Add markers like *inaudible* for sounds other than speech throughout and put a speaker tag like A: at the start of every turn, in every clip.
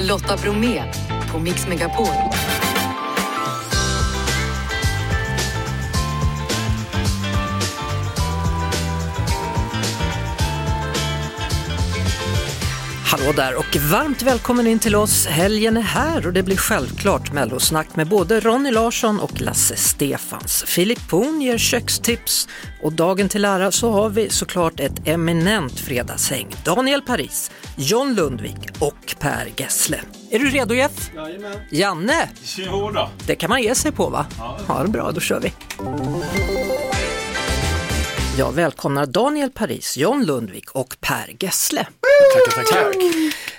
A: Lotta Bromé på Mix Megapol.
B: Hallå där och varmt välkommen in till oss. Helgen är här och det blir självklart mellosnack med både Ronny Larsson och Lasse Stefans. Filip Poon ger kökstips och dagen till ära så har vi såklart ett eminent fredagshäng. Daniel Paris, John Lundvik och Per Gessle. Är du redo Jeff?
C: Jajamän.
B: Janne,
C: Jo då.
B: det kan man ge sig på va? Ja, bra, då kör vi. Jag välkomnar Daniel Paris, John Lundvik och Per Gessle.
D: Tack, tack, tack.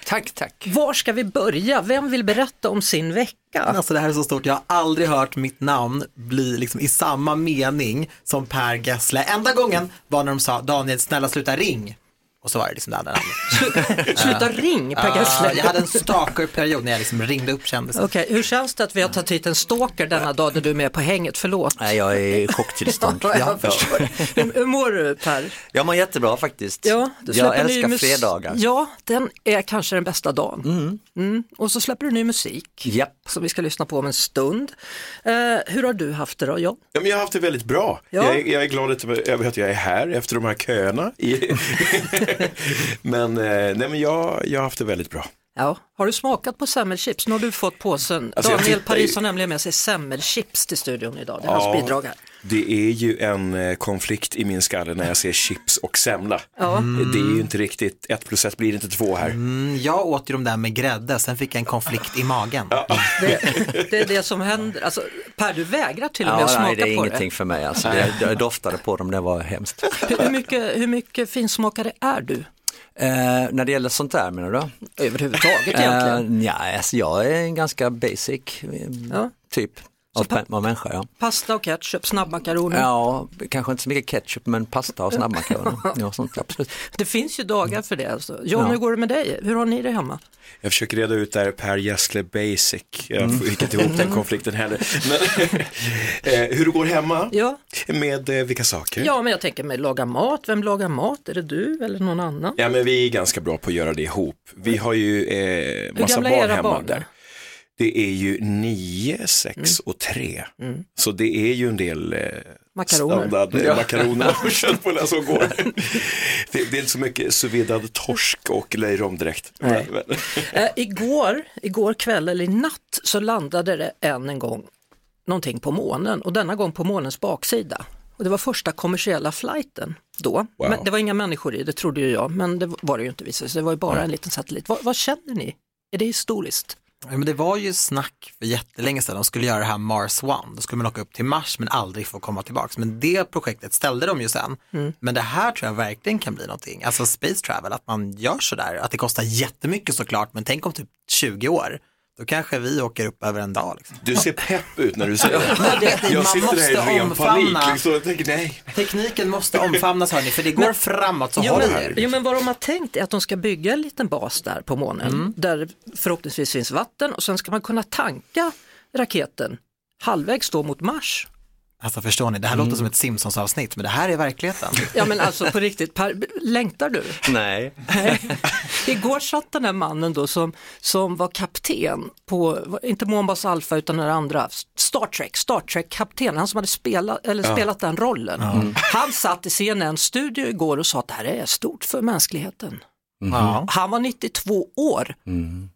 D: Tack, tack.
B: Var ska vi börja? Vem vill berätta om sin vecka?
D: Alltså det här är så stort, jag har aldrig hört mitt namn bli liksom i samma mening som Per Gessle. Enda gången var när de sa Daniel snälla sluta ring. Och så var det liksom det andra namnet.
B: Sluta ring *laughs* Per
D: Ja, Ah, jag
B: Gessle.
D: hade en stalkerperiod när jag liksom ringde upp kändisar.
B: Okej, hur känns det att vi har tagit hit en stalker denna dag när du är med på hänget? Förlåt.
E: Nej, jag är i chocktillstånd.
B: *laughs* Ja,
E: Ja.
B: jag förstår. Hur, hur mår du Per?
E: Jag mår jättebra faktiskt.
B: Ja, du
E: jag
B: släpper ny
E: älskar
B: mus-
E: fredagar.
B: Ja, den är kanske den bästa dagen. Mm. Och så släpper du ny musik
E: Japp.
B: som vi ska lyssna på om en stund. Eh, hur har du haft det då John?
C: Ja, men jag har haft det väldigt bra.
B: Ja.
C: Jag, är- jag är glad att, över att jag är här efter de här köerna.
B: *laughs*
C: I- men eh, nej, men jag, jag har haft det väldigt bra.
B: Ja. Har du smakat på semmelchips? Nu har du fått påsen.
C: Alltså, jag
B: Daniel
C: tittar
B: Paris
C: ju-
B: har nämligen med sig semmelchips till studion idag. Det är hans bidrag här.
C: Det är ju en eh, konflikt i min skalle när jag ser chips och semla. Det är ju inte riktigt, ett plus ett blir inte två här.
D: Mm, Jag åt ju de där med grädde, sen fick jag en konflikt i magen.
B: Det, det är det som händer. Alltså, per, du vägrar till och med
E: Ja,
B: att smaka
E: nej, det är
B: på
E: ingenting för mig. Alltså, jag, jag doftade på dem, det
B: *laughs*
E: var hemskt.
B: det. Hur, hur, mycket, hur mycket finsmakare är du?
E: Eh, när det gäller sånt där menar du?
B: Överhuvudtaget
E: Eh,
B: egentligen.
E: nja, alltså, jag är en ganska basic eh, typ av, pe- av människa. Ja.
B: Pasta och ketchup, snabbmakaroner.
E: ja, kanske inte så mycket ketchup men pasta
B: *laughs*
E: och snabbmakaroner. ja, sånt, absolut.
B: Det finns ju dagar för det. Alltså. John, hur går det med dig? Hur har ni det hemma?
C: Jag försöker reda ut där Per Gessle Basic.
B: Mm.
C: Jag fick inte ihop den konflikten heller. Men, *laughs* eh, hur det går hemma?
B: Ja,
C: Med eh, vilka saker?
B: ja men jag tänker mig laga mat. Vem lagar mat? Är det du eller någon annan?
C: Ja men vi är ganska bra på att göra det ihop. Vi har ju eh, massa
B: gamla
C: barn
B: är era
C: hemma
B: barn? Mm.
C: där. Det är ju 9, 6 och 3. Så det är ju en del eh,
B: Makaroner.
C: standard eh, makaroner och *laughs* köttbullar som går. det, det är inte så mycket sous-vidad torsk och löjromdräkt.
B: Nej.
C: Men- men-
B: Eh, igår, igår kväll eller i natt så landade det än en gång någonting på månen och denna gång på månens baksida. Och det var första kommersiella flighten då.
C: Wow.
B: Men det var inga människor i, det trodde ju jag, men det var det ju inte visade sig. Det var ju bara en liten satellit. Vad, vad känner ni? Är det historiskt?
D: Ja, Men det var ju snack för jättelänge sedan, de skulle göra det här Mars One, då skulle man åka upp till Mars men aldrig få komma tillbaks. Men det projektet ställde de ju sen.
B: Mm.
D: Men det här tror jag verkligen kan bli någonting, alltså space travel, att man gör sådär, att det kostar jättemycket såklart, men tänk om typ 20 år, då kanske vi åker upp över en dag. Liksom.
C: Du ser pepp ut när du säger
B: *laughs*
D: Men
C: det.
D: det är att man
C: Jag sitter
D: måste
C: där i ren panik.
D: omfamna.
C: Liksom, jag tänker nej.
D: Tekniken måste omfamnas hörni, för det går framåt, så
B: Jo
D: håll i
B: men,
D: er.
B: jo men vad de har tänkt är att de ska bygga en liten bas där på månen där förhoppningsvis finns vatten och sen ska man kunna tanka raketen halvvägs då mot Mars.
D: Alltså förstår ni, det här
B: Mm.
D: låter som ett Simpsons-avsnitt, men det här är verkligheten.
B: Ja men alltså på riktigt, per, längtar du?
E: Nej,
B: Igår satt den här mannen då som, som var kapten på, inte Månbas Alpha utan den andra, Star Trek, Star Trek-kapten, han som hade spelat, eller spelat den rollen. Mm. Han satt i CNN-studio igår och sa att det här är stort för mänskligheten.
D: Ja.
B: Han var 92 år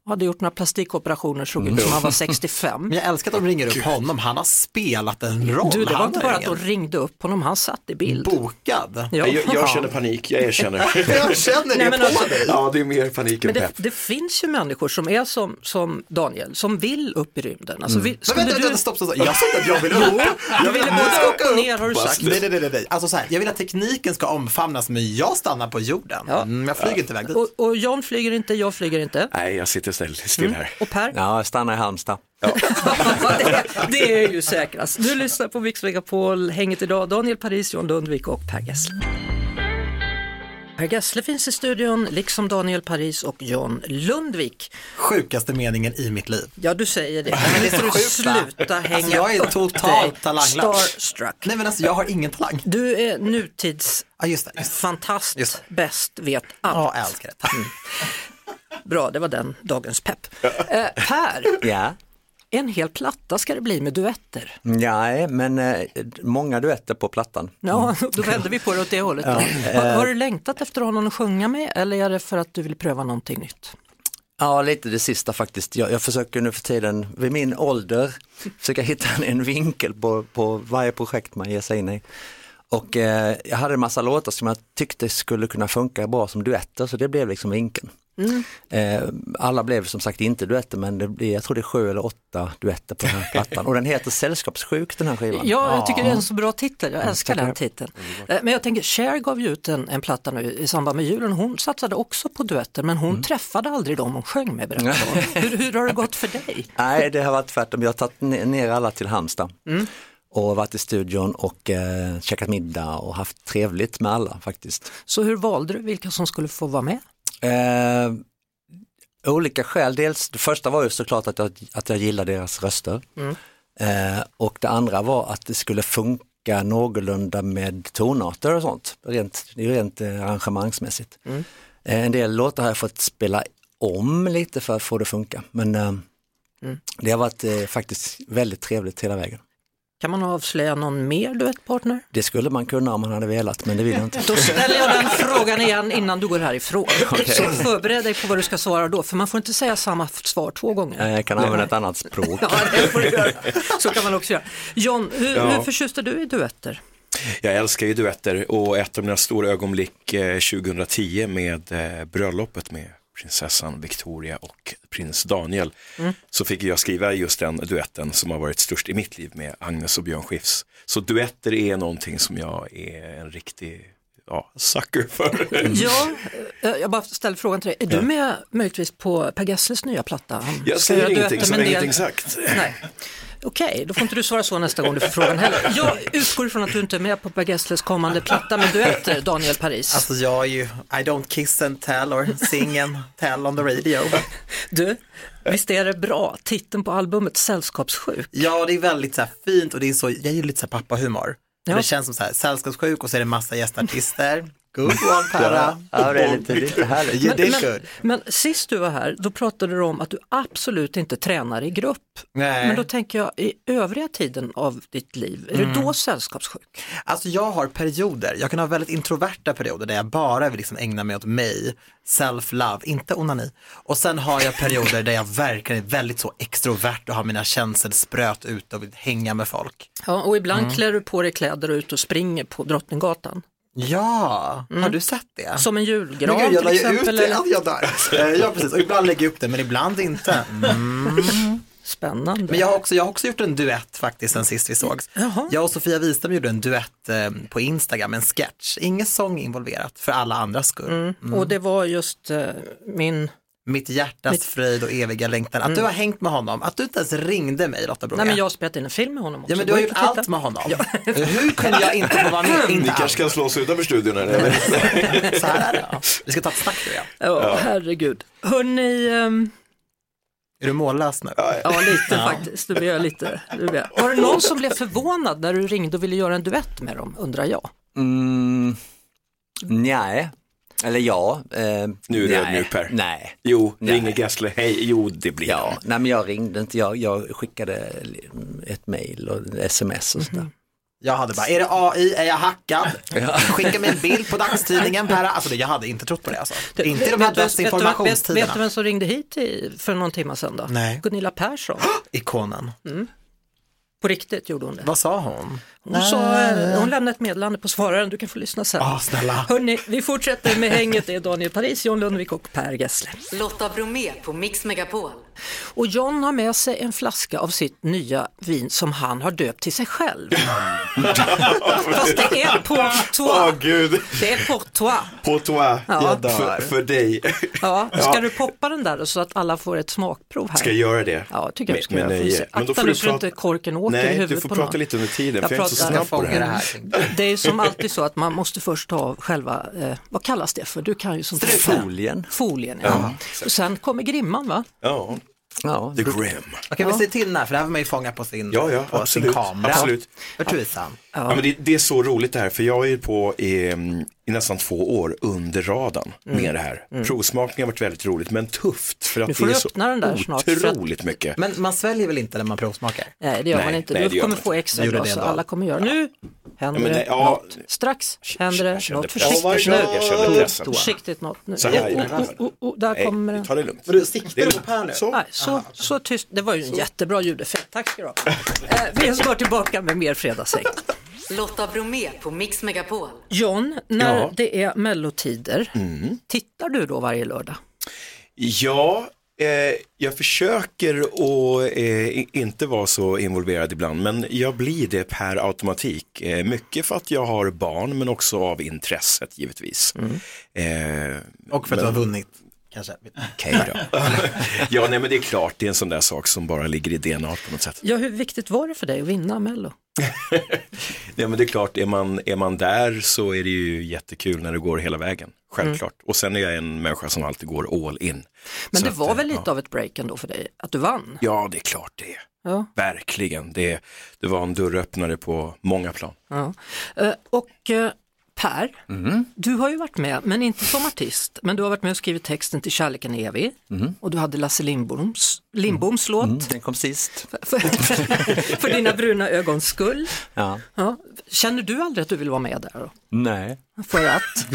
B: och hade gjort några plastikoperationer, såg ut som
D: Mm.
B: han var
D: *laughs*
B: 65.
D: Men jag älskar att de ringer upp honom, han har spelat en roll.
B: Du, det
D: Han
B: var inte
D: har
B: bara att
D: ingen-
B: de ringde upp honom, han satt i bild.
D: Bokad?
B: Ja.
C: Jag, jag känner panik, jag
B: *laughs*
C: erkänner.
D: Jag känner
B: Nej,
D: det
B: men
D: på
B: alltså-
D: dig.
C: Ja, det är mer panik än
B: Men det,
C: pepp.
B: det finns ju människor som är som, som Daniel, som vill upp i rymden. Alltså, vi,
D: Mm. Men
B: skulle
D: vänta,
B: du...
D: vänta, stopp, stopp, stopp. Jag sa inte att jag vill upp.
B: Du
D: Jag
B: ville
D: att
B: både
D: du
B: upp och ner har du sagt.
D: Nej, nej, nej, nej, nej. Alltså så här, jag vill att tekniken ska omfamnas men jag stannar på jorden.
B: Ja.
D: Mm, jag flyger inte iväg dit.
B: Och, och John flyger inte, jag flyger inte.
C: Nej, jag sitter still, still här.
B: Och Per?
E: ja, jag stannar i Halmstad.
B: *laughs* det, det är ju säkrast. Du lyssnar på Mix Megapol, hänget idag, Daniel Paris, John Lundvik och Per Gessle. Per Gessle finns i studion, liksom Daniel Paris och John Lundvik.
D: Sjukaste meningen i mitt liv.
B: Ja, du säger det. Men det får du
D: *laughs* sjukt, va?
B: sluta hänga
D: Alltså, jag är
B: upp
D: totalt
B: dig.
D: talanglös.
B: Starstruck.
D: Nej men alltså jag har ingen talang.
B: Du är nutids
D: Ja just det.
B: fantast,
D: Just
B: bäst, vet allt. Mm.
D: Ja, jag älskar det. Tack.
B: Bra, det var den dagens pepp. Eh, per,
E: Ja.
B: en hel platta ska det bli med duetter.
E: Nej, men eh, många duetter på plattan.
B: Ja, *laughs* då vänder vi på det åt det hållet. Då. Har, har du längtat efter att ha någon att sjunga med eller är det för att du vill pröva någonting nytt?
E: Ja, lite det sista faktiskt. Jag, jag försöker nu för tiden, vid min ålder, försöka hitta en, en vinkel på, på varje projekt man ger sig in i. Och eh, jag hade en massa låtar som jag tyckte skulle kunna funka bra som duetter, så det blev liksom vinkeln. Eh, alla blev som sagt inte duetter, men det blir, jag tror det är sju eller åtta duetter på den här plattan. Och den heter Sällskapssjuk, den här skivan.
B: Ja, jag tycker det är en så bra titel. Jag älskar den titeln. Eh, Men jag tänker, Cher gav ju ut en, en platta nu i samband med julen. Hon satsade också på duetter, men hon träffade aldrig dem hon sjöng med. berättade *laughs* hon. Hur, hur har det gått för dig?
E: Nej, det har varit tvärtom. Jag har tagit ne- ner alla till Halmstad och varit i studion och eh, käkat middag och haft trevligt med alla faktiskt.
B: Så hur valde du vilka som skulle få vara med?
E: Eh, olika skäl, dels det första var ju såklart att jag, att jag gillar deras röster eh, och det andra var att det skulle funka någorlunda med tonarter och sånt, rent, det är ju rent eh, arrangemangsmässigt. Eh, en del låtar har jag fått spela om lite för att få det att funka, men eh, det har varit eh, faktiskt väldigt trevligt hela vägen.
B: Kan man avslöja någon mer duettpartner?
E: Det skulle man kunna om man hade velat, men det vill jag inte.
B: Då ställer jag den frågan igen innan du går *laughs* härifrån. Så förbered dig på vad du ska svara då, för man får inte säga samma f- svar två gånger.
E: Eh, Jag kan använda ett annat språk.
B: Ja, det får du göra. *laughs* Så kan man också göra. John, hur, hur förtjust är du i duetter?
C: Jag älskar ju duetter och ett av mina stora ögonblick eh, 2010 med eh, bröllopet med prinsessan Victoria och prins Daniel så fick jag skriva just den duetten som har varit störst i mitt liv med Agnes och Björn Skifs. Så duetter är någonting som jag är en riktig ja, sucker för.
B: Ja, eh, jag bara ställer frågan till dig. Är du med möjligtvis på Per Gessles nya platta? Han
C: Jag
B: ska
C: säger
B: göra
C: ingenting
B: duetter
C: så
B: med en
C: länge
B: del-
C: ingenting sagt.
B: Nej. Okej, då får inte du svara så nästa gång du får frågan heller. Jag utgår ifrån att du inte är med på Per Gessles kommande platta med duetter, Daniel Paris.
D: Alltså jag är ju, I don't kiss and tell or sing and tell on the radio.
B: Du, visst är det bra? Titeln på albumet Sällskapssjuk.
D: Ja, det är väldigt så här fint och det är så, jag gillar lite så här pappahumor.
B: Ja.
D: Det känns som så här sällskapssjuk och så är det massa gästartister. Good one Perra.
E: Ja, det är lite, lite härligt.
D: You did
B: men,
D: good.
B: men sist du var här, då pratade du om att du absolut inte tränar i grupp.
D: Nej. Mm.
B: Men då tänker jag, i övriga tiden av ditt liv, är du då sällskapssjuk?
D: Alltså jag har perioder, jag kan ha väldigt introverta perioder där jag bara vill liksom ägna mig åt mig, self-love, inte onani. Och sen har jag perioder där jag verkligen är väldigt så extrovert och har mina känslor spröt ut och vill hänga med folk.
B: Ja, och ibland
D: Mm.
B: klär du på dig kläder och ut och springer på Drottninggatan.
D: Ja, har du sett det?
B: Som en
D: Men
B: julgran
D: gud,
B: till
D: jag la ju ut
B: exempel.
D: det,
B: Eller?
D: *laughs* ja, jag dör. Eh, Ja, precis, och ibland lägger jag upp det men ibland inte. Mm.
B: Spännande.
D: Men jag har, också, jag har också gjort en duett faktiskt sen sist vi sågs.
B: Jaha.
D: Jag och Sofia Wistam gjorde en duett eh, på Instagram, en sketch. Ingen sång involverat, för alla andras skull.
B: Och det var just eh, min...
D: Mitt hjärtas fröjd och eviga längtan. Att du har hängt med honom, att du inte ens ringde mig Lotta Brunga.
B: Mm. Nej men jag har spelat in en film med honom också.
D: Ja men du har
B: Gå
D: gjort
B: in och titta.
D: allt med honom. *laughs* Hur kunde jag inte få
B: *laughs*
D: vara med?
C: Ni
D: Inte
C: kanske kan slå oss utanför studion här. eller?
D: alls. *laughs* Så här är det. Vi ska ta ett snack du och jag.
B: Ja, herregud. Hörni, ehm,
D: Är du mållös nu?
B: ja
D: *laughs*
B: lite faktiskt. Nu blir jag lite... Nu blir jag. Var det någon som blev förvånad när du ringde och ville göra en duett med dem, undrar jag.
E: Mm, nej, eller ja. Eh,
C: Nu är du
E: nej,
C: ödmjuk, Per.
E: Nej.
C: Jo,
E: Nej.
C: ringer Gessle, hej, jo det blir
E: Ja,
C: ja.
E: nej men jag ringde inte, jag, jag skickade ett mejl och sms och
C: Mhm.
E: sådär.
D: Jag hade bara, är det AI? Är jag hackad? Skicka mig en bild på dagstidningen Perra. Alltså det- jag hade inte trott på det alltså. Inte i de här
B: Vet du- Vet, vet, vet du
D: desinformationstiderna.
B: vem som ringde hit i, för någon timme sedan då?
D: Nej.
B: Gunilla Persson.
D: Ikonen.
B: Mm. På riktigt gjorde hon det.
D: Vad sa hon?
B: Hon, sa, eh, hon lämnade ett meddelande på svararen, du kan få lyssna sen.
D: Ah, snälla.
B: Hörni, vi fortsätter med hänget. Det är Daniel Paris, John Lundvik och Per Gessle.
A: Lotta Bromé på Mix Megapol.
B: Och John har med sig en flaska av sitt nya vin som han har döpt till sig själv. Fast det är
C: Åh
B: Portois.
C: gud,
B: Det är Portois.
C: på toa,
B: Ja.
C: för, för dig.
B: Ja, ska du poppa den där då så att alla får ett smakprov här?
C: Ska jag göra det? eh,
B: Ja, tycker jag du ska
C: Med-
B: göra.
C: med
B: Får vi se.
C: nöje.
B: Akta nu så inte korken åker i
C: Nej,
B: huvudet
C: du får
B: på
C: prata
B: någon.
C: lite under tiden,
B: Jag
C: för jag är inte så
B: pratar-
C: snabb på det
D: Fångar det
C: här.
D: här.
B: Det är som alltid så att man måste först ta av själva, eh, vad kallas det för? Du kan ju som
E: Folien.
B: Folien, ja. Och sen kommer grimman va?
C: Ja.
E: Ja,
C: The
B: Mm.
C: Grim.
D: Okej, vi säger till när, för det här vill man ju fånga på sin,
C: Ja, ja,
D: på sin
C: absolut,
D: kamera.
C: absolut.
D: För tusan.
C: Ja. men det, det är så roligt det här, för jag är ju på i, i nästan två år under radarn med det här. Provsmakningen har varit väldigt roligt, men tufft. För att
B: Mm. Nu får
C: det är
B: du
C: så
B: öppna den där snart, för att-
C: Otroligt mycket.
D: Men man sväljer väl inte när man provsmakar?
B: Nej, det gör
C: Nej,
B: man inte.
C: nej, det
B: du
C: gör
B: kommer
C: man
B: få
C: inte.
B: extra
D: Jag gjorde
B: glas
D: det
B: så
D: ändå.
B: alla kommer göra. Nu händer
C: Ja, men
B: det,
C: det- ja.
B: något. Strax händer
C: jag
B: det
C: kände
B: något.
C: pressen.
B: Försiktigt
C: Jag
B: nu.
C: kände- jag kände pressen.
B: Försiktigt något nu.
C: Så här,
B: oh,
C: ja.
B: oh, oh, oh, oh, där kommer
C: Nej,
B: den.
C: ta det lugnt.
D: Men du, siktar
C: Det är
D: du
C: lugnt.
D: upp här nu?
C: Så.
B: Nej, så, så tyst. Det var ju en jättebra ljudeffekt. Tack ska du ha. Eh, vi är snart tillbaka med mer fredagshäng.
A: Lotta Bromé på Mix Megapol.
B: John, när
C: Ja. Mm.
B: det är mellotider, tittar du då varje lördag?
C: Ja, eh, jag försöker att eh, i- inte vara så involverad ibland, men jag blir det per automatik. Eh, mycket för att jag har barn, men också av intresset givetvis.
B: Mm.
C: Eh,
D: Och för att du har vunnit, kanske.
C: Okej då. *laughs* ja, nej men det är klart, det är en sån där sak som bara ligger i DNA på något sätt.
B: Ja, hur viktigt var det för dig att vinna mello?
C: Nej men det är klart, är man, är man där så är det ju jättekul när det går hela vägen.
B: Mm.
C: Självklart. Och sen är jag en människa som alltid går all in.
B: Men
C: Så
B: det
C: att,
B: var
C: eh,
B: väl lite
C: ja.
B: av ett break ändå för dig, att du vann?
C: Ja, det är klart det är.
B: Ja.
C: Verkligen. Det, det var en dörröppnare på många plan.
B: Ja. Eh, Och eh, Per,
E: Mm.
B: du har ju varit med, men inte som artist, men du har varit med och skrivit texten till Kärleken är evig
E: Mm.
B: och du hade Lasse Lindboms, Lindboms låt
E: den kom sist.
B: för, för dina bruna ögons skull.
E: Ja.
B: Ja. Känner du aldrig att du vill vara med där?
E: Nej.
B: Då? För att?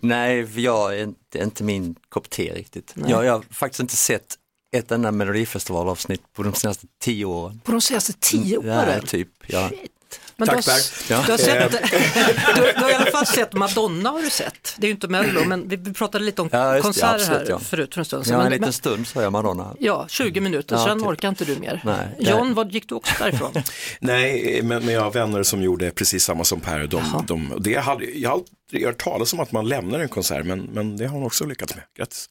E: Nej, för jag är inte, inte min kopp te riktigt. Jag, jag har faktiskt inte sett ett enda melodifestivalavsnitt på de senaste tio åren.
B: På de senaste tio
E: Nej,
B: åren?
E: typ. Ja.
B: Men
C: Tack,
B: du, har, s-
E: Per. Ja. Ehm.
B: du, har sett, du, du har i alla fall sett Madonna har du sett. Det är ju inte Mello, men vi vi pratade lite om
E: Ja, just det,
B: konserter här
E: absolut, ja.
B: förut för en stund
E: Ja, en
B: Men-
E: liten
B: men-
E: stund sa jag Madonna.
B: Ja, 20 minuter,
E: Ja,
B: sen
E: typ.
B: orkar inte du mer.
E: Nej, det-
B: John, vad gick du också därifrån?
C: Nej, men, men jag har vänner som gjorde precis samma som Per. De, de, det hade, jag har aldrig hört talas om att man lämnar en konsert, men, men det har hon också lyckats med. Grattis.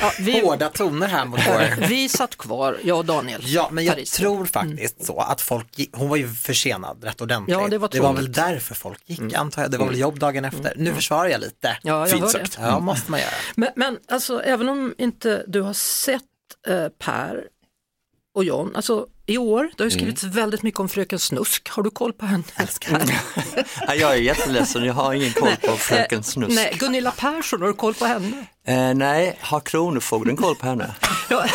B: Ja,
D: *laughs*
B: vi,
D: Hårda toner
B: *laughs*
D: här mot vår
B: vi satt kvar, jag och Daniel.
D: Ja, men jag
B: Paris. Mm.
D: tror faktiskt så att folk gick, hon var ju försenad rätt ordentligt.
B: Ja, det var Mm.
D: väl
B: tråkigt.
D: därför folk gick antar jag, det var väl jobb dagen efter. Nu försvarar jag lite.
B: Mm.
D: Mm.
B: Ja, jag
C: Fint
B: hör det.
C: sagt.
D: Ja, måste man göra.
B: Men, men alltså, även om inte du har sett eh, Per och John, alltså i år, det har ju skrivits väldigt mycket om Fröken Snusk. Har du koll på henne?
E: *laughs* Nej, jag är jätteledsen, jag har ingen koll på Fröken Snusk.
B: Nej, Gunilla Persson, har du koll på henne?
E: Eh, nej, har Kronofogden koll på henne?
B: Ja.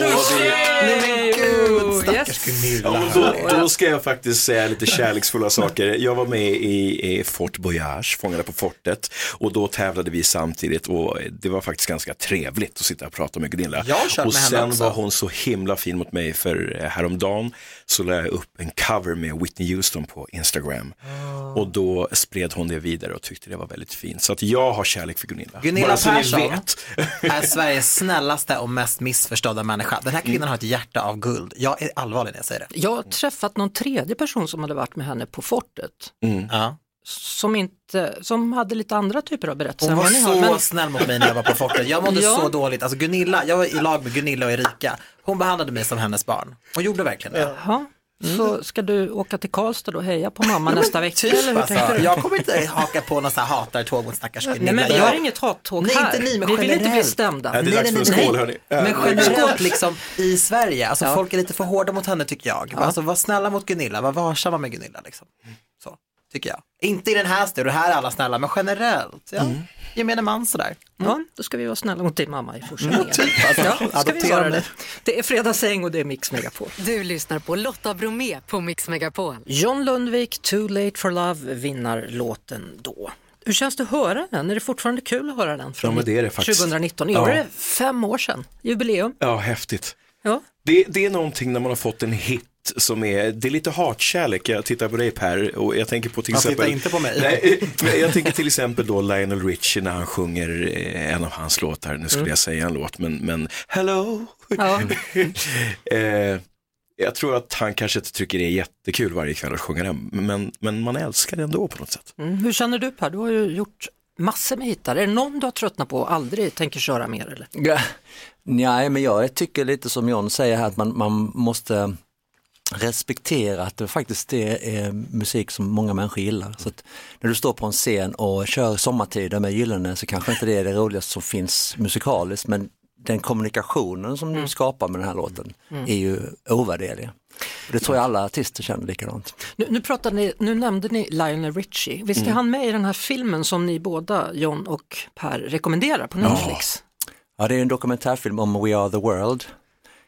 B: Nej, men gud, yes.
C: Ja, men då, då ska jag faktiskt säga lite kärleksfulla saker. Jag var med i, i Fort Boyage, Fångarna på fortet, och då tävlade vi samtidigt och det var faktiskt ganska trevligt att sitta och prata med Gunilla.
D: Jag har kört
C: och
D: med henne
C: sen
D: också.
C: var hon så himla fin mot mig för eh, häromdagen så la jag upp en cover med Whitney Houston på Instagram
D: Ah.
C: och då spred hon det vidare och tyckte det var väldigt fint. Så att jag har kärlek för Gunilla.
D: Gunilla
C: Bara så ni
D: Persson.
C: vet.
D: Är Sveriges snällaste och mest missförstådda människa. Den här
C: Mm.
D: kvinnan har ett hjärta av guld. Jag är allvarlig när jag säger det.
B: Jag har träffat någon tredje person som hade varit med henne på fortet.
C: Mm.
D: Ja.
B: som, inte, som hade lite andra typer av berättelser.
D: Hon
B: än
D: var
B: vad ni har,
D: så
B: men,
D: snäll mot mig när jag var på fortet. Jag
B: *laughs*
D: mådde
B: Ja.
D: så dåligt. Alltså Gunilla, jag var i lag med Gunilla och Erika. Hon behandlade mig som hennes barn. Hon gjorde verkligen det.
B: Jaha, så ska du åka till Karlstad och heja på mamma nästa vecka? eller hur
D: Alltså,
B: tänker du?
D: jag kommer inte haka på någon sån här hatartåg mot stackars Gunilla.
B: Nej men vi
D: Jag-
B: har inget hattåg
D: Nej,
B: här.
D: inte ni, men
B: vi vill inte bli
D: generellt.
C: Ja,
B: stämda.
C: det är dags för en skål hörni.
D: Men
C: Äh,
D: generellt liksom i Sverige, alltså folk är lite för hårda mot henne tycker jag. Alltså var snälla mot Gunilla, var varsamma med Gunilla liksom. Så, tycker jag. Inte i den här studion, här är alla snälla, men generellt. Ja.
B: Mm.
D: Gemene man sådär.
B: Ja, då ska vi vara snälla mot din mamma i
C: Mm,
B: fortsättningen.
C: typ.
D: alltså.
B: Ja, ska vi
D: Adoptera
B: göra
D: mig.
B: det. Det är fredagsäng och det är Mix Megapol.
A: Du lyssnar på Lotta Bromé på Mix Megapol.
B: John Lundvik, Too Late For Love, vinnar låten då. Hur känns det att höra den? Är det fortfarande kul att höra den från
C: Ja, men det är det faktiskt.
B: 2019? I
C: Ja.
B: år är det fem år sedan, jubileum.
C: Ja, häftigt.
B: Ja.
C: Det, det är någonting när man har fått en hit som är, det är lite hatkärlek, jag tittar på dig Per och jag tänker på till
D: Ja, titta
C: exempel.
D: inte på mig.
C: Nej, eh, men jag tänker till exempel då Lionel Richie när han sjunger eh, en av hans låtar, nu skulle
D: Mm.
C: jag säga en låt, men, men hello.
B: Ja.
C: eh, jag tror att han kanske inte tycker det är jättekul varje kväll att sjunga den, men, men man älskar det ändå på något sätt.
B: Mm. Hur känner du Per? Du har ju gjort massor med hittar. Är det någon du har tröttnat på och aldrig tänker köra mer? Eller?
E: Ja. Nej, men jag tycker lite som John säger här att man, man måste respektera att det faktiskt det är musik som många människor gillar. Så att när du står på en scen och kör sommartider med Gyllene så kanske inte det är det roligaste som finns musikaliskt men den kommunikationen som
D: Mm.
E: du skapar med den här låten är ju ovärderlig. Och Det tror jag alla artister känner likadant.
B: Nu, nu, pratade ni, nu nämnde ni Lionel Richie. Visst är
D: Mm.
B: han med i den här filmen som ni båda, John och Per, rekommenderar på Netflix?
E: Ja, det är en dokumentärfilm om We Are The World,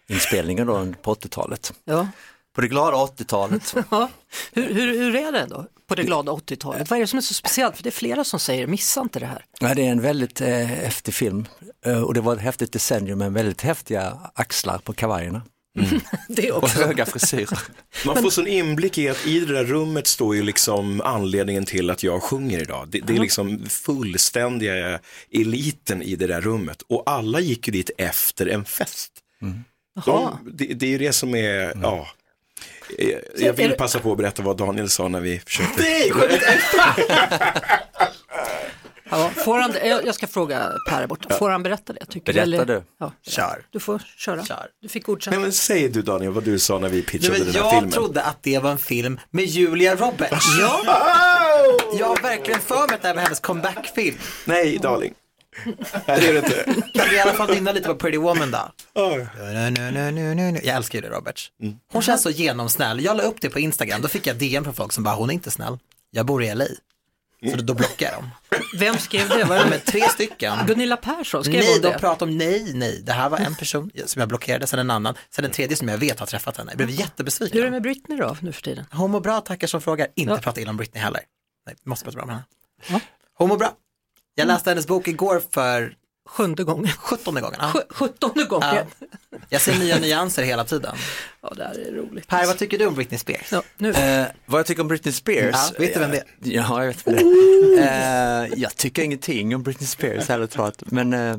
E: inspelningen då på 80-talet.
B: Ja.
E: På det glada 80-talet.
B: Ja. Hur, hur, hur är det då på det glada 80-talet? Vad är det som är så speciellt? För det är flera som säger, missa inte det här.
E: *laughs* Ja, det är en väldigt eh, häftig film Eh, och det var ett häftigt decennium med väldigt häftiga axlar på kavajerna.
B: *laughs* Det
E: Och
B: också.
E: höga frisyrer.
C: Man får sån inblick i att i det där rummet står ju liksom anledningen till att jag sjunger idag. Det, det är liksom fullständiga eliten i det där rummet och alla gick ju dit efter en fest.
D: Mm.
C: De, det, det är ju det som är, ja. Eh, Jag vill passa på att berätta vad Daniel sa när vi försökte.
B: Ja, får han, jag jag ska fråga Per där borta, får han berätta det? Tycker
E: Berätta
B: eller-
E: du.
B: Ja.
D: Kör.
B: Du får köra.
D: Kör.
B: Du fick godkänt.
C: Nej, men säg du Daniel vad du sa när vi
D: Ja,
C: pitchade
D: men
C: den här
D: jag
C: filmen.
D: trodde att det var en film med Julia Roberts. Ja. Jag har verkligen för mig att det här var hennes comebackfilm.
C: Nej, darling. Nej, det är det inte.
D: *laughs* Kan vi i alla fall nynna lite på Pretty Woman då?
C: Ja.
D: Nu, nu, nu, nu, nu, nu. Jag älskar Julia Roberts. Hon känns så genomsnäll. Jag la upp det på Instagram, då fick jag DM från folk som bara, hon är inte snäll. Jag bor i LA. Så då, då blockade jag dem.
B: Vem skrev det? Var det
D: Men tre stycken.
B: Gunilla Persson skrev
D: Nej,
B: hon
D: de
B: det.
D: pratar om nej, nej. Det här var en person som jag blockerade, sen en annan, sen en tredje som jag vet har träffat henne. Jag blev
B: Hur är det
D: jättebesviken.
B: med Britney då nu för tiden?
D: Hon mår bra, tackar som frågar. Inte
B: Ja.
D: prata illa om Britney heller. Nej, vi måste prata bra om henne.
B: Ja.
D: Hon mår bra. Jag läste hennes bok igår för
B: Sjunde gången.
D: sjuttonde gången. Ja.
B: Sj- Sjuttonde
D: Ja.
B: gången.
D: Jag ser nya nyanser hela tiden.
B: Ja, det här är roligt.
D: Per, vad tycker du om Britney Spears?
B: Ja, nu.
E: Eh, vad jag tycker om Britney Spears? Eh,
D: Ja, vet du vem det är?
E: Ja, jag vet vem det är. Eh, jag tycker ingenting om Britney Spears ärligt talat, men eh,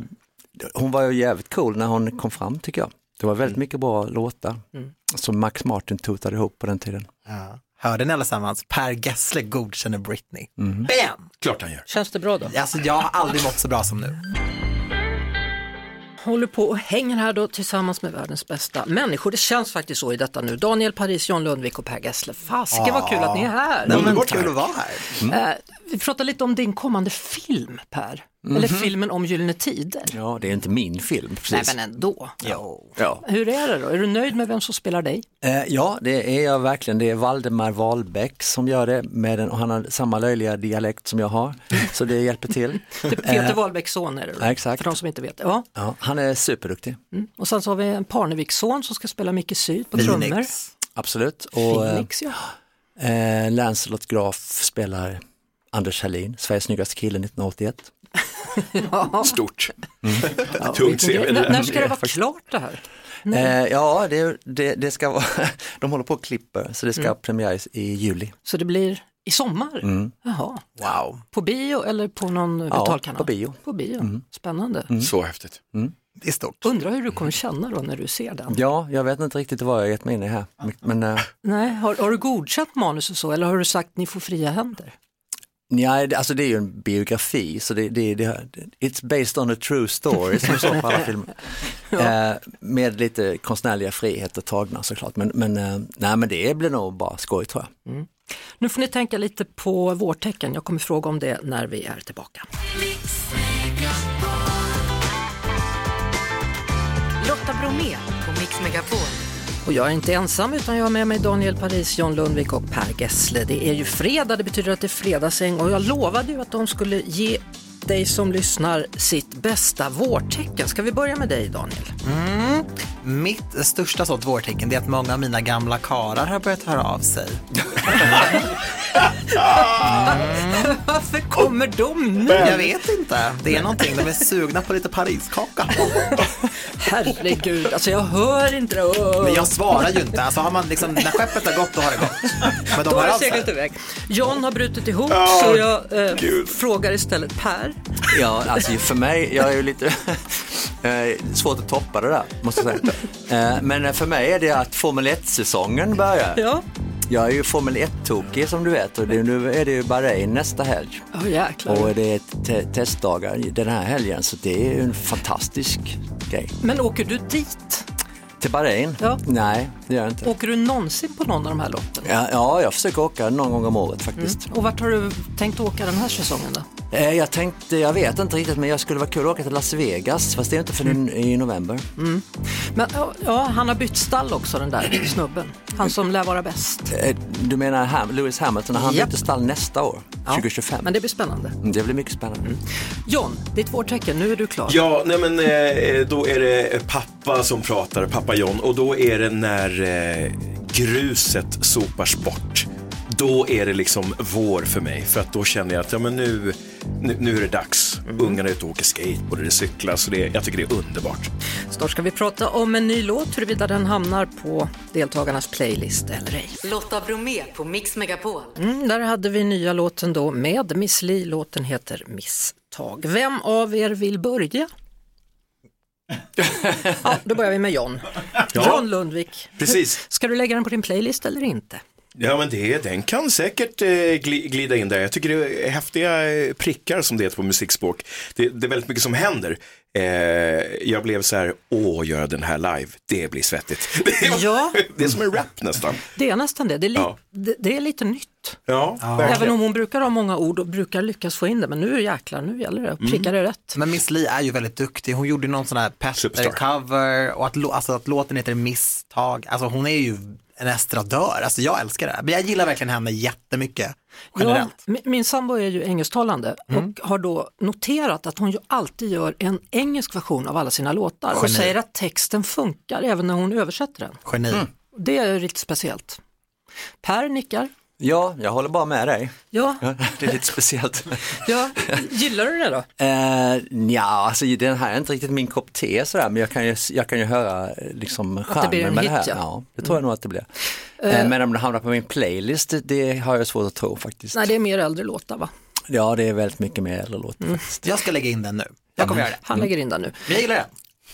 E: hon var ju jävligt cool när hon kom fram tycker jag. Det var väldigt mycket bra låtar
B: Mm.
E: som Max Martin totade ihop på den tiden.
D: Ja. Hörde ni allesammans? Per Gessle godkänner Britney.
B: Mhm.
D: Bam!
C: Klart han gör.
B: Känns det bra då?
D: Alltså jag har aldrig mått så bra som nu.
B: håller på och hänger här då tillsammans med världens bästa människor. Det känns faktiskt så i detta nu. Daniel Paris, John Lundvik och Per Gessle. Faske vad kul att
E: Ah.
B: ni är här. Mm.
D: Underbart kul att vara här.
B: Eh, vi pratar lite om din kommande film Per, eller filmen om Gyllene Tider.
E: Ja, det är inte min film
B: Nej
E: Mhm. precis.
B: men ändå.
D: Jo.
E: ja.
B: Hur är det då? Är du nöjd med vem som spelar dig?
E: Eh, ja, det är jag verkligen. Det är Valdemar Wahlbeck som gör det med en, och han har samma löjliga dialekt som
B: *laughs*
E: jag har, så det hjälper till.
B: Det är Typ Peter Wahlbecks son är det då?
E: Eh. ja, exakt.
B: För de som inte vet. Ja.
E: Ja, han är superduktig,
B: Och sen så har vi en Parneviks-son som ska spela Micke Syd på Mm. trummor.
D: Phoenix.
E: absolut. Och, eh,
B: Phoenix ja.
E: Eh, Lancelot Graf spelar Anders Hallin, Sveriges snyggaste kille 1981.
C: Stort.
B: ja
C: tungt
B: vilken grej.
C: CV.
B: N- när ska det vara klart det här?
E: Eh, ja, det, det, det ska vara, *laughs* de håller på och klipper så det
B: Mm.
E: ska premiäras i juli.
B: Så det blir i sommar? Jaha.
D: Wow.
B: På bio eller på någon
E: Mm. Ja,
B: betalkanal?
E: på bio. Mm.
B: På bio. Spännande.
C: Så häftigt.
D: Det är stort.
B: Undrar hur du kommer känna då när du ser den?
E: Ja, jag vet inte riktigt vad jag har gett mig in i här.
B: Mm.
E: Men eh,
B: Nej, har, har du godkänt manus och så eller har du sagt ni får fria händer?
E: nej, det- alltså det är ju en biografi så det, det, det, it's based on a true story som det står på alla filmer. Eh, med lite konstnärliga friheter tagna såklart. Men, men, eh, nej, men det blir nog bara skoj tror jag.
B: Nu får ni tänka lite på vårtecken. Jag kommer fråga om det när vi är tillbaka.
A: Lotta Bromé på Mix Megapol.
B: Och jag är inte ensam utan jag har med mig Daniel Paris, John Lundvik och Per Gessle. Det är ju fredag, det betyder att det är fredagsäng och jag lovade ju att de skulle ge dig som lyssnar sitt bästa vårtecken. Ska vi börja med dig Daniel?
D: Mitt största sånt vårtecken det är att många av mina gamla karar har börjat höra av sig.
B: *laughs* Varför kommer de nu?
D: Jag vet inte. Det är någonting. De är sugna på
B: *laughs*
D: lite pariskaka.
B: Herregud, alltså jag hör inte det. Åh.
D: Men jag svarar ju inte. Alltså har man liksom, när skeppet har gått då har det gått. Men de
B: Då
D: hör
B: har det
D: av sig.
B: seglat iväg. John har brutit ihop så jag eh, frågar istället Per.
E: Ja, alltså för mig, jag är ju lite *laughs* eh, svårt att toppa det där, måste jag säga. Eh, Men för mig är det att Formel 1-säsongen börjar.
B: Ja,
E: Jag är ju Formel 1-tokig som du vet och det, nu är det ju Bahrain nästa helg.
B: oh, jäklar.
E: Och det är te- testdagar den här helgen så det är ju en fantastisk grej.
B: Men åker du dit?
E: Till Bahrain?
B: Ja.
E: Nej, det gör jag inte.
B: Åker du någonsin på någon av de här loppen?
E: Ja, ja, jag försöker åka någon gång om året faktiskt.
B: Och vart har du tänkt åka den här säsongen då?
E: Eh, Jag tänkte, jag vet inte riktigt, men jag skulle vara kul att åka till Las Vegas, fast det är inte förrän i november.
B: Men ja, ja, han har bytt stall också den där snubben. Han som lär vara bäst.
E: Eh, Du menar Ham Lewis Hamilton, han
B: Japp.
E: byter stall nästa år, 2025.
B: Men det blir spännande.
E: Mm, Det blir mycket spännande.
B: John, ditt vårtecken, nu är du klar.
C: Ja, nej men eh, då är det pappa som pratar, pappa John, och då är det när eh, gruset sopas bort. Då är det liksom vår för mig, för att då känner jag att ja, men nu, nu, nu är det dags. Ungarna är ute och åker skateboard, det cyklas, och det, jag tycker det är underbart.
B: Snart ska vi prata om en ny låt, huruvida den hamnar på deltagarnas playlist eller ej.
A: Lotta Bromé på Mix Megapol.
B: Mm, där hade vi nya låten då med Miss Li. Låten heter Misstag. Vem av er vill
C: *laughs*
B: börja? ja, då börjar vi med John. John Lundvik.
C: Precis.
B: Ska du lägga den på din playlist eller inte?
C: Ja, men det, den kan säkert eh, gli- glida in där. Jag tycker det är häftiga eh, prickar som det heter på musikspråk. Det, det är väldigt mycket som händer. Eh, jag blev så här, åh, göra den här live, det blir svettigt. *laughs*
B: Ja,
C: Det är som en rap nästan.
B: det är nästan det. Det är, li-
C: Ja.
B: det, det är lite nytt.
C: Ja,
B: Även om hon brukar ha många ord och brukar lyckas få in det, men nu jäklar, nu gäller det.
E: Mm.
B: Prickar det rätt.
D: Men Miss Li är ju väldigt duktig. Hon gjorde ju någon sån här
C: Superstar.
D: Petter-cover och att, lå- alltså att låten heter Misstag. Alltså hon är ju en estradör. Alltså jag älskar det. här. Men jag gillar verkligen henne jättemycket generellt.
B: Ja, mi- min sambo är ju engelsktalande
E: Mm.
B: och har då noterat att hon ju alltid gör en engelsk version av alla sina låtar och
D: Geni.
B: säger att texten funkar även när hon översätter den.
D: Geni.
B: Det är ju lite speciellt. Per nickar.
E: Ja, jag håller bara med dig.
B: Ja,
E: Ja, *laughs* Det är lite speciellt. *laughs*
B: ja. gillar du det då?
E: Uh, ja, alltså den här är inte riktigt min kopp te sådär, men jag kan ju, jag kan ju höra eh, liksom
B: blir
E: charmen
B: en
E: med
B: hit,
E: det här.
B: ja. Mm.
E: Ja, det tror jag nog att det blir. Eh, men om det hamnar på min playlist, det- det har jag svårt att tro faktiskt.
B: Nej, det är mer äldre låtar va?
E: Ja, det är väldigt mycket mer äldre låt.
B: Mm.
D: Jag ska lägga in den nu. Jag kommer göra det.
E: Mm.
B: Han lägger in den nu.
D: Men jag gillar den.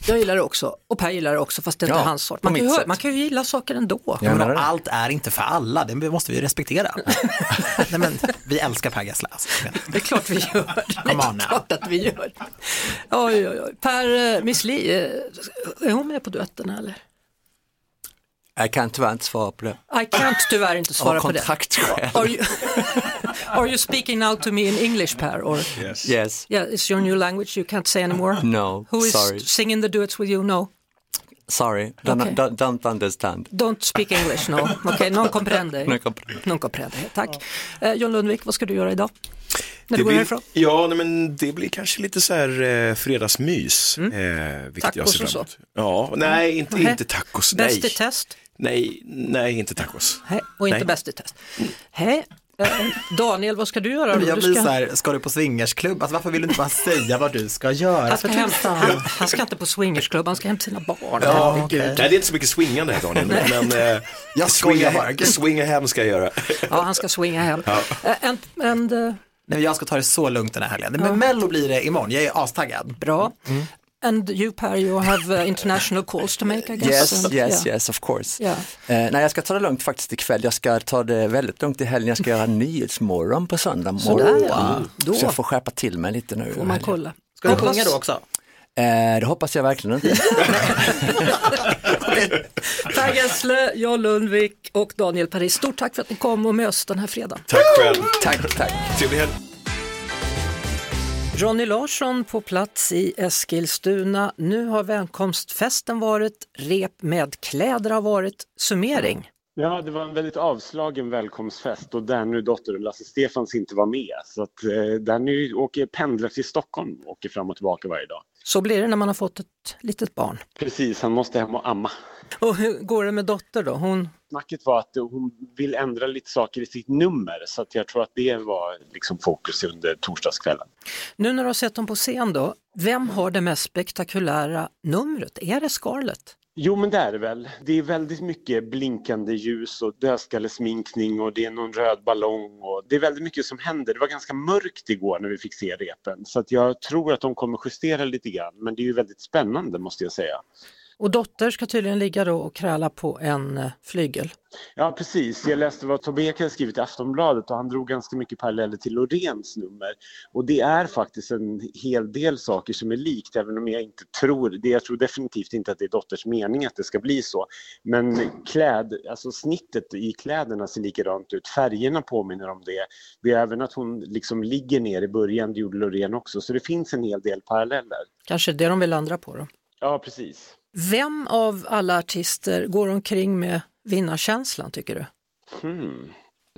B: Jag gillar det också och Per gillar det också fast det är inte
E: Ja,
B: hans sort.
E: på
B: Man kan, ju,
E: mitt
B: hö-
E: sätt.
B: man kan ju gilla saker ändå.
E: Ja. Jag menar
D: Men
E: det.
D: allt är inte för alla, det måste vi respektera. Nej, men, vi älskar Per Gessle. alltså.
B: Det är klart vi gör. Det
D: Come on
B: är
D: now.
B: klart att vi gör. Oj, oj, oj. Per, eh, Miss Li, eh, är hon med på duetten eller?
E: Jag kan tyvärr inte svara på det.
B: I can't tyvärr inte svara
E: Av
B: på det.
E: kontraktskäl.
B: Are you, *laughs* are you speaking now to me in English Per? Or,
E: Yes.
B: yeah, it's your new language, you can't say anymore?
E: No,
B: Who is
E: sorry.
B: singing the duets with you? No,
E: Sorry, don't,
B: Okej.
E: don't, don't understand.
B: don't speak English, no. Okej, non comprende.
E: *laughs* Non comprende.
B: Non comprende, tack. Eh, John Lundvik, vad ska du göra idag? När du
C: det
B: går
C: blir,
B: härifrån?
C: ja, nej, men det blir kanske lite så här eh, fredagsmys. Eh, vilket jag
B: Mm. Tacos
C: ser
B: och
C: fram emot.
B: så.
C: Ja, nej, inte,
B: Nej.
C: inte tacos. Nej.
B: Eh, Bäst i test?
C: nej, nej, inte tacos.
B: Hej, och inte
C: Nej.
B: bäst i test. Hej. Eh, Daniel, vad ska du göra? då?
D: Jag
B: Du
D: blir
B: ska-
D: så här, ska du på swingersklubb? Alltså, varför vill du inte bara säga vad du ska göra?
B: Han ska, hämta, han ska inte på swingersklubb, han ska hämta sina barn.
C: Ja, Nej, det är inte så mycket swingande här
D: *laughs*
C: Daniel, men eh,
D: Jag skojar
C: swinga,
D: bara.
C: he- *laughs* swinga hem ska jag göra.
B: Ja, han ska swinga hem. Eh, En, en, eh,
D: Nej, jag ska ta det så lugnt den här helgen. Men Mello blir det imorgon, jag är astaggad.
B: bra. And you Per, you have uh, international calls to make I guess.
E: Yes,
B: And-
E: yes,
B: yeah.
E: yes, of course.
B: Ja.
E: Eh, nej, jag ska ta det lugnt faktiskt ikväll. Jag ska ta det väldigt lugnt i helgen. Jag ska göra *laughs* Nyhetsmorgon på söndag morgon.
B: Sådär, ja. Då.
E: Så jag får skärpa till mig lite nu.
B: Får man kolla.
D: Ska du sjunga då också?
E: Eh, det hoppas jag verkligen inte.
B: Per Gessle, John Lundvik och Daniel Paris, stort tack för att ni kom och möts den här fredagen.
C: Tack själv,
E: tack, tack.
C: trevlig helg.
B: Ronny Larsson på plats i Eskilstuna. Nu har välkomstfesten varit, rep med kläder har varit, summering.
F: Ja, det var en väldigt avslagen välkomstfest och där nu dottern Lasse Stefans inte var med. Så att eh, där nu åker pendlar till Stockholm och åker fram och tillbaka varje dag.
B: Så blir det när man har fått ett litet barn.
F: Precis, han måste hem och amma.
B: Och hur går det med dotter då? Hon,
F: Snacket var att eh, hon vill ändra lite saker i sitt nummer så att jag tror att det var liksom fokus under torsdagskvällen.
B: nu när du har sett dem på scen då, vem har det mest spektakulära numret? Är det Scarlett?
F: Jo, men det är det väl. Det är väldigt mycket blinkande ljus och dödskallesminkning och det är någon röd ballong och det är väldigt mycket som händer. Det var ganska mörkt igår när vi fick se repen så att jag tror att de kommer justera lite grann men det är ju väldigt spännande måste jag säga.
B: Och Dotter ska tydligen ligga då och kräla på en eh, flygel.
F: Ja, precis. Jag läste vad Tobé hade skrivit i Aftonbladet och han drog ganska mycket paralleller till Lorens nummer. Och det är faktiskt en hel del saker som är likt, även om jag inte tror det. Jag tror definitivt inte att det är Dotters mening att det ska bli så. Men kläd, alltså snittet i kläderna ser likadant ut. Färgerna påminner om det. Det är även att hon liksom ligger ner i början, det gjorde Loreen också. Så det finns en hel del paralleller.
B: Kanske det de vill ändra på då.
F: Ja, precis.
B: Vem av alla artister går omkring med vinnarkänslan tycker du?
F: Hmm.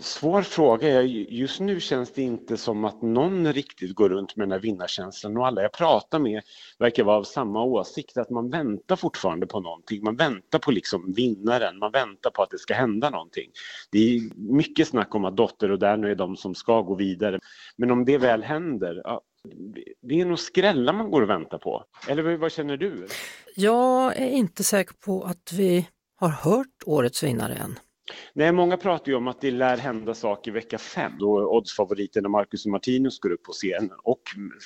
F: Svår fråga. Jag- Just nu känns det inte som att någon riktigt går runt med den här vinnarkänslan och alla jag pratar med verkar vara av samma åsikt, att man väntar fortfarande på någonting. Man väntar på liksom vinnaren, man väntar på att det ska hända någonting. Det är mycket snack om att Dotter och där nu är de som ska gå vidare. Men om det väl händer, ja, det är nog skrällar man går och väntar på. Eller vad- vad känner du?
B: Jag är inte säker på att vi har hört årets vinnare än.
F: Nej, många pratar ju om att det lär hända saker vecka fem då oddsfavoriterna Marcus och Martinus går upp på scenen och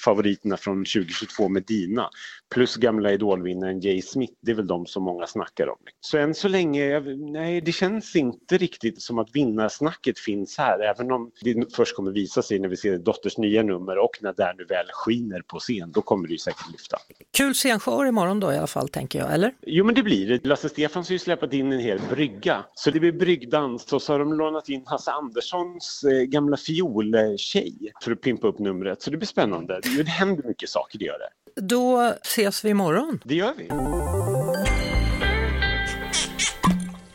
F: favoriterna från 2022 med Dina plus gamla idolvinnaren Jay Smith. Det är väl de som många snackar om. Så än så länge, jag- nej, det känns inte riktigt som att vinnarsnacket finns här, även om det först kommer visa sig när vi ser Dotters nya nummer och när där nu väl skiner på scen, då kommer det ju säkert lyfta.
B: Kul scenshow imorgon då i alla fall tänker jag, eller?
F: Jo men det blir det. Lasse Stefans har ju släpat in en hel brygga. Så det blir bryggdans och så har de lånat in Hasse Anderssons eh, gamla fioltjej för att pimpa upp numret. Så det blir spännande. Det händer mycket saker, det gör det.
B: Då ses vi imorgon.
F: Det gör vi.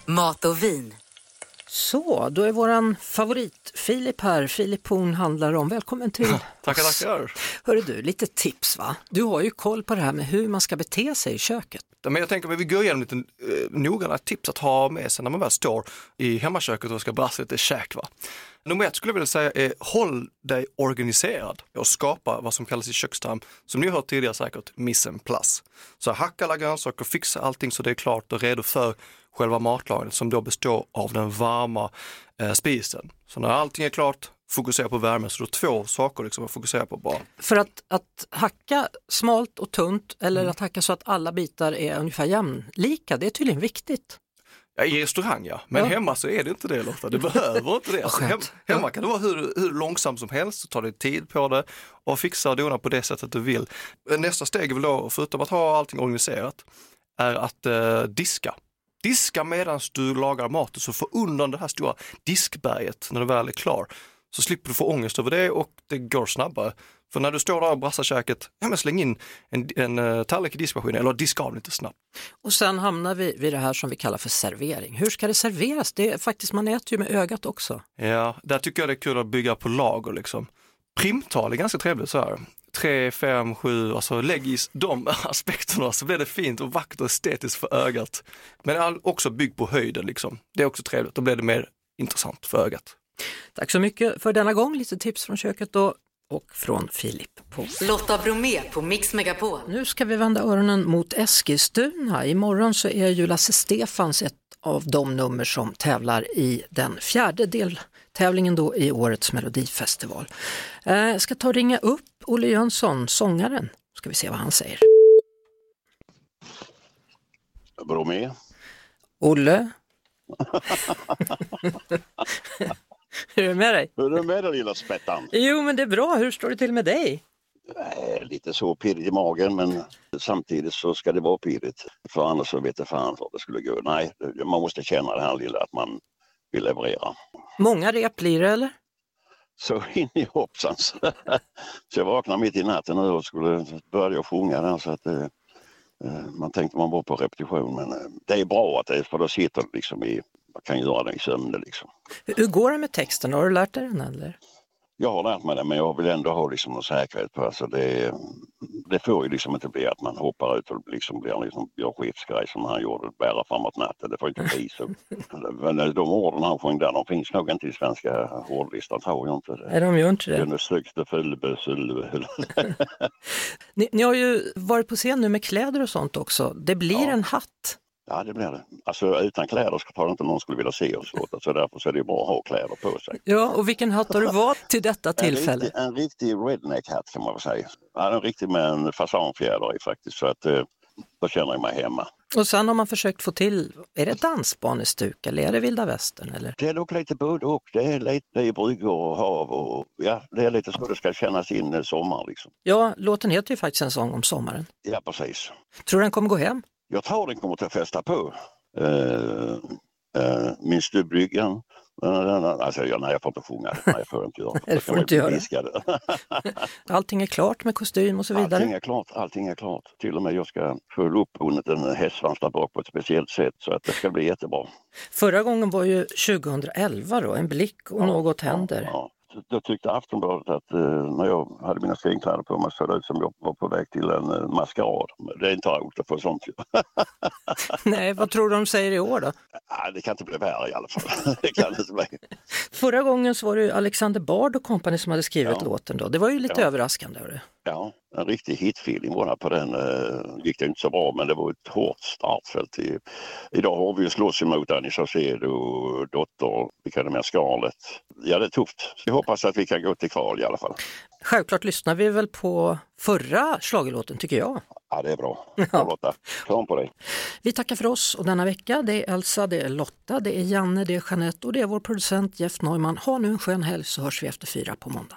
A: Mat och vin.
B: Så, då är våran favorit Filip här, Filip Horn handlar om. Välkommen till!
D: *laughs* Tackar, tackar.
B: Hörru du, lite tips va? Du har ju koll på det här med hur man ska bete sig i köket.
D: Ja, Men jag tänker att vi går igenom lite eh, noggranna tips att ha med sig när man väl står i hemmaköket och ska brassa lite käk. Va? Nummer ett skulle jag vilja säga är håll dig organiserad och skapa vad som kallas i köksterm, som ni har hört tidigare säkert, mise en place. Så hacka alla grönsaker, fixa allting så det är klart och redo för själva matlagningen som då består av den varma eh, spisen. Så när allting är klart, fokusera på värmen. Så du har två saker liksom att fokusera på bara.
B: För att, att hacka smalt och tunt eller
D: Mm.
B: att hacka så att alla bitar är ungefär jämlika, det är tydligen viktigt.
D: Ja, I restaurang ja, men
B: Ja.
D: hemma så är det inte det Lotta, det behöver inte det. Alltså, hem,
B: skönt.
D: hemma kan det vara hur, hur långsamt som helst, du tar dig tid på det och fixar och donar på det sättet du vill. Nästa steg är väl då, förutom att ha allting organiserat, är att eh, diska. Diska medan du lagar maten så få undan det här stora diskberget när du väl är klar. Så slipper du få ångest över det och det går snabbare. För när du står där och brassar käket, ja men släng in en, en, eh, tallrik i diskmaskinen eller diska av lite snabbt.
B: Och sen hamnar vi vid det här som vi kallar för servering. Hur ska det serveras? Det är faktiskt, man äter ju med ögat också.
D: Ja, där tycker jag det är kul att bygga på lager liksom. Primtal är ganska trevligt så här. 3, 5, 7, alltså lägg i de *laughs* aspekterna så blir det fint och vackert och estetiskt för ögat. Men all- också bygg på höjden liksom. Det är också trevligt, då blir det mer intressant för ögat.
B: Tack så mycket för denna gång, lite tips från köket då och från Filip på
A: Lotta Bromé på Mix Megapol.
B: Nu ska vi vända öronen mot Eskilstuna. Imorgon så är ju Lasse Stefans ett av de nummer som tävlar i den fjärde deltävlingen då i årets melodifestival. Eh, ska ta och ringa upp Olle Jönsson, sångaren. Ska vi se vad han säger.
G: Bromé.
B: Olle? *laughs* Hur är det med dig?
G: Hur är det med dig lilla spettan?
B: Jo men det är bra, hur står det till med dig?
G: Nej, lite så pirrig i magen men samtidigt så ska det vara pirrigt. För annars så vet jag fan vad det skulle gå. Nej, man måste känna det här lilla att man vill leverera.
B: Många rep blir det eller?
G: Så *laughs* in i hoppsan. Så jag vaknade mitt i natten nu och skulle börja sjunga där så att eh, eh, man tänkte man var på repetition men eh, det är bra att det är för då sitter det liksom i, man kan göra det i sömnen liksom.
B: Hur- Hur går det med texten? Har du lärt dig den eller?
G: Jag har lärt mig det men jag vill ändå ha liksom någon säkerhet på alltså det. Det får ju liksom inte bli att man hoppar ut och liksom blir liksom, gör skiftsgrej som han gjorde, bära framåt natten. Det får inte bli
B: *laughs*
G: så. Men eh, de orden han sjöng där, de finns nog inte i svenska ordlistan tror jag inte.
B: Nej, de gör inte det.
G: Gunne sökte Fulbe Sylve.
B: Ni, ni har ju varit på scen nu med kläder och sånt också. Det blir
G: Ja.
B: en hatt.
G: *laughs* Ja det blir det. Alltså utan kläder så tror jag inte någon skulle vilja se oss åt. Så därför så är det ju bra att ha kläder på sig.
B: Ja, och vilken hatt har du valt till detta tillfälle?
G: En riktig, en riktig redneck-hatt kan man väl säga. Ja, en riktig med en fasanfjäder i faktiskt. Så att, eh, då känner jag mig hemma.
B: Och sen har man försökt få till, är det dansbanestuk eller är det vilda västern? Eller?
G: Det är nog lite både och. Det är lite i bryggor och hav och ja, det är lite så det ska kännas in eh, sommar liksom.
B: Ja, låten heter ju faktiskt En sång om sommaren.
G: Ja, precis.
B: Tror du den kommer gå hem?
G: Jag tror den kommer att fästa på. Uh, uh, minns du bryggan? Eh, den- den- Alltså, jag, nej, jag får inte sjunga det. Nej, jag får inte göra
B: *laughs*
G: det.
B: Det får du inte göra.
G: göra.
B: Allting är klart med kostym och så vidare.
G: Allting är klart, allting är klart. Till och med jag ska följa upp under en hästsvans där bak på ett speciellt sätt så att det ska bli jättebra.
B: Förra gången var ju 2011 då, En blick och något händer.
G: Ja. Då tyckte Aftonbladet att eh, när jag hade mina stegkläder på mig såg det ut som jag var på väg till en eh, maskerad. Men Det är inte roligt att få sånt.
B: *laughs*
G: *laughs*
B: Nej, vad tror du de säger i år då?
G: Ah, det kan inte bli värre i alla fall. *laughs* det kan det inte bli.
B: Förra gången så var det ju Alexander Bard och kompani som hade skrivit
G: Ja.
B: låten då. Det var ju lite
G: Ja.
B: överraskande. Hörru.
G: Ja, en riktig hitfeeling var det på den. eh, gick det inte så bra, men det var ett hårt startfält. I, idag har vi ju slåss emot Annie Saucedo, Dotter, vilka är det mer, Scarlett. Ja, det är tufft. Vi hoppas att vi kan gå till kval i alla fall.
B: Självklart lyssnar vi väl på förra schlagerlåten tycker jag.
G: Ja, det är bra. Bra Lotta, kram på dig.
B: Vi tackar för oss och denna vecka det är Elsa, det är Lotta, det är Janne, det är Jeanette och det är vår producent Jeff Neumann. Ha nu en skön helg så hörs vi efter fyra på måndag.